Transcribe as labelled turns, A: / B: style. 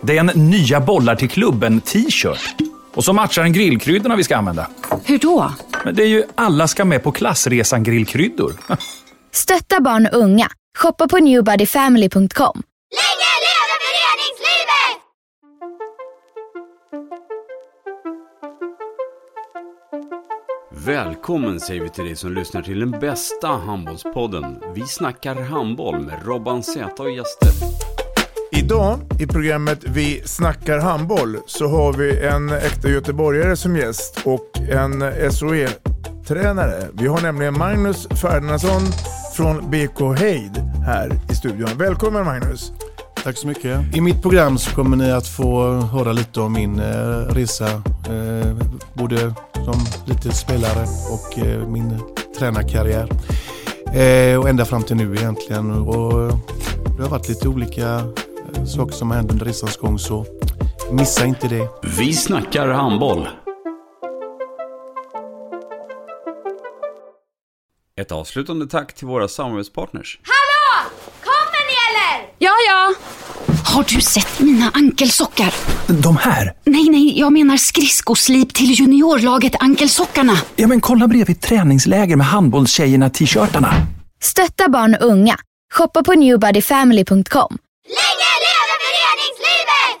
A: Det är en nya bollar till klubben-t-shirt. Och så matchar den grillkryddorna vi ska använda.
B: Hur då?
A: Men det är ju alla ska med på klassresan grillkryddor.
C: Stötta barn och unga. Shoppa på newbodyfamily.com.
D: Länge leve föreningslivet!
E: Välkommen säger vi till dig som lyssnar till den bästa handbollspodden. Vi snackar handboll med Robban Z och gäster.
F: Idag i programmet Vi snackar handboll så har vi en äkta göteborgare som gäst och en SOE-tränare. Vi har nämligen Magnus Ferdinandsson från BK Heid här i studion. Välkommen Magnus!
G: Tack så mycket. I mitt program så kommer ni att få höra lite om min eh, resa. Eh, både som lite spelare och eh, min tränarkarriär. Eh, och ända fram till nu egentligen. Och eh, det har varit lite olika eh, saker som har hänt under resans gång så missa inte det.
E: Vi snackar handboll. Ett avslutande tack till våra samarbetspartners.
D: Hallå! Kommer ni eller?
B: Ja, ja. Har du sett mina ankelsockar?
A: De här?
B: Nej, nej, jag menar skridskoslip till juniorlaget Ankelsockarna.
A: Ja, men kolla bredvid träningsläger med handbollstjejerna-t-shirtarna.
C: Stötta barn och unga. Shoppa på newbodyfamily.com.
D: Länge leve föreningslivet!